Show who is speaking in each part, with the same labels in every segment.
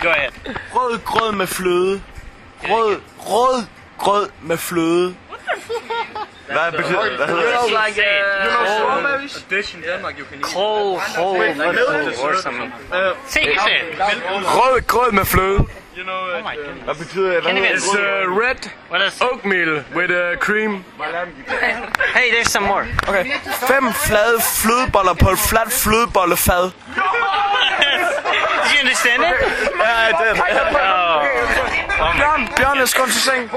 Speaker 1: Go ahead.
Speaker 2: Rød grød med fløde. Rød, rød grød med fløde. Hvad betyder hvad hedder det?
Speaker 1: like uh, you know,
Speaker 3: A dish in Denmark you can eat.
Speaker 1: whole, whole,
Speaker 3: milk?
Speaker 1: or something. Take it in.
Speaker 2: Rød grød med fløde.
Speaker 3: You know, uh,
Speaker 1: Oh my goodness.
Speaker 2: Hvad betyder det? Hvad
Speaker 1: Kan I
Speaker 2: hedder det?
Speaker 1: vente?
Speaker 4: Uh, red
Speaker 1: What else?
Speaker 4: oatmeal with uh, cream.
Speaker 1: Hey, there's some more.
Speaker 2: Okay. Fem flade flødeboller på et fladt flødebollefad.
Speaker 1: Did you understand it?
Speaker 2: Ja, det er Bjørn, Bjørn, jeg skal til seng.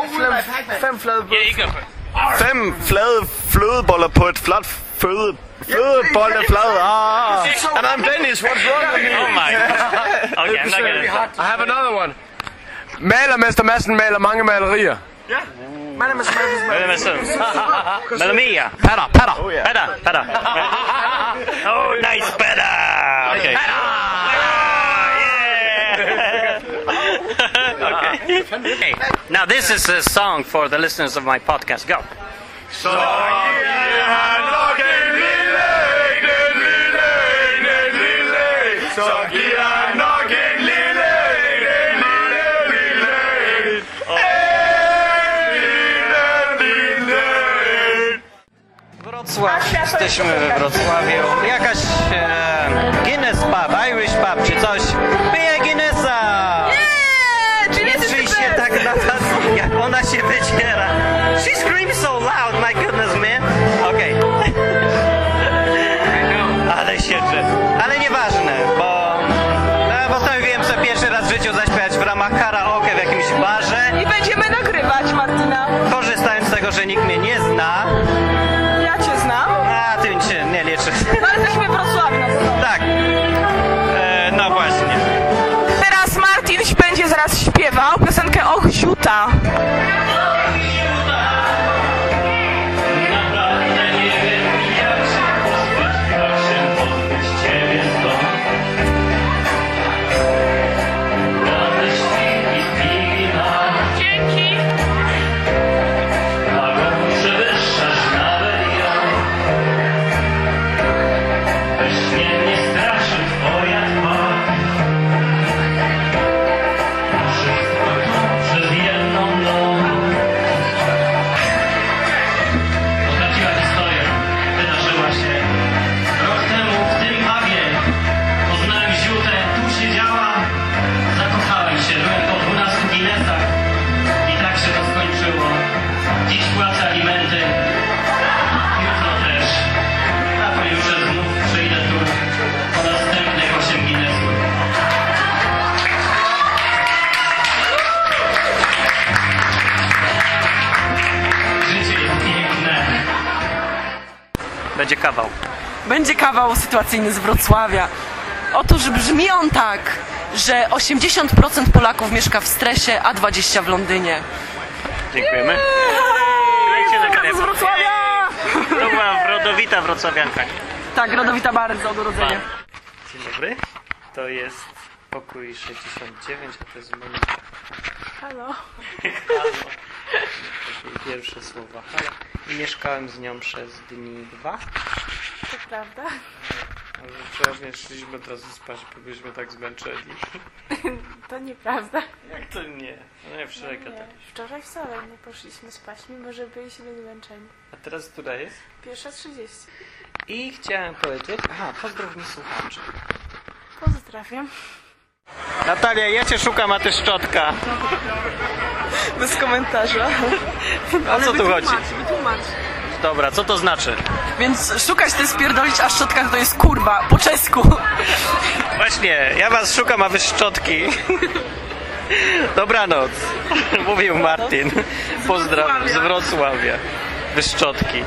Speaker 2: Fem flade
Speaker 1: Oh Yeah, you go first.
Speaker 2: Fem flade flødeboller på et fladt føde... Flødebolleflad. Ah. And I'm Dennis, what's wrong with
Speaker 1: Oh
Speaker 2: me?
Speaker 1: my god. Okay, I'm not gonna stop.
Speaker 4: I have another one. Malermester Madsen maler mange malerier.
Speaker 1: Wait a minute, so- Mamma mia. Padda, padda,
Speaker 2: Oh, yeah.
Speaker 1: padda, padda. Oh, nice padda. Okay. Yeah. okay. okay. Now this is a song for the listeners of my podcast. Go. Wrocław, jesteśmy we Wrocławiu. Jakaś e, Guinness Pub, Irish Pub czy coś. Pije Guinnessa!
Speaker 5: Yeah,
Speaker 1: Nie
Speaker 5: Juliet is
Speaker 1: trzyj
Speaker 5: the
Speaker 1: się
Speaker 5: best.
Speaker 1: tak na nas, jak ona się wyciera. She screams so loud, my goodness, man. Okej. Ale się drze. Ale nieważne, bo... No, postanowiłem sobie pierwszy raz w życiu zaśpiewać w ramach karaoke w jakimś barze.
Speaker 5: I będziemy nagrywać, Martyna.
Speaker 1: Korzystając z tego, że nikt mnie nie zna.
Speaker 5: Ja cię znam.
Speaker 1: A, tym się nie liczy.
Speaker 5: No ale jesteśmy Wrocławna.
Speaker 1: Tak. E, no właśnie.
Speaker 5: Teraz Martin będzie zaraz śpiewał piosenkę Och Ziuta.
Speaker 6: Poznałem ziutę, tu siedziała, zakochałem się, byłem po 12 ginesach i tak się to skończyło. Dziś płacę alimenty, jutro też, a pojutrze znów przyjdę tu po następnych 8 ginesów. Życie jest piękne.
Speaker 1: Będzie kawał.
Speaker 7: Będzie kawał sytuacyjny z Wrocławia. Otóż brzmi on tak, że 80% Polaków mieszka w stresie, a 20% w Londynie.
Speaker 1: Dziękujemy.
Speaker 7: Eee, z Wrocławia!
Speaker 1: To była rodowita wrocławianka.
Speaker 7: Tak, rodowita bardzo od urodzenia.
Speaker 1: Dzień dobry. To jest pokój 69, a to jest Monika. Halo. Takie Pierwsze słowa. Halo. I mieszkałem z nią przez dni dwa.
Speaker 8: Prawda?
Speaker 4: Ale przeważnie szliśmy od razu spać, bo byliśmy tak zmęczeni.
Speaker 8: To nieprawda.
Speaker 4: Jak to nie? No nie, wczoraj
Speaker 8: Nie. Wczoraj wcale nie poszliśmy spać, mimo że byliśmy zmęczeni.
Speaker 4: A teraz która jest?
Speaker 8: Pierwsza 30.
Speaker 1: I chciałem powiedzieć... Aha, pozdrow mi słuchaczy.
Speaker 8: Pozdrawiam.
Speaker 1: Natalia, ja cię szukam, a ty szczotka.
Speaker 7: Bez komentarza.
Speaker 1: O co tu chodzi?
Speaker 8: wytłumacz.
Speaker 1: Dobra, co to znaczy?
Speaker 7: Więc szukać to jest pierdolić, a szczotka to jest kurwa, po czesku.
Speaker 1: Właśnie, ja was szukam, a wy szczotki. Dobranoc, mówił Martin. Pozdrawiam z Wrocławia. Wy szczotki.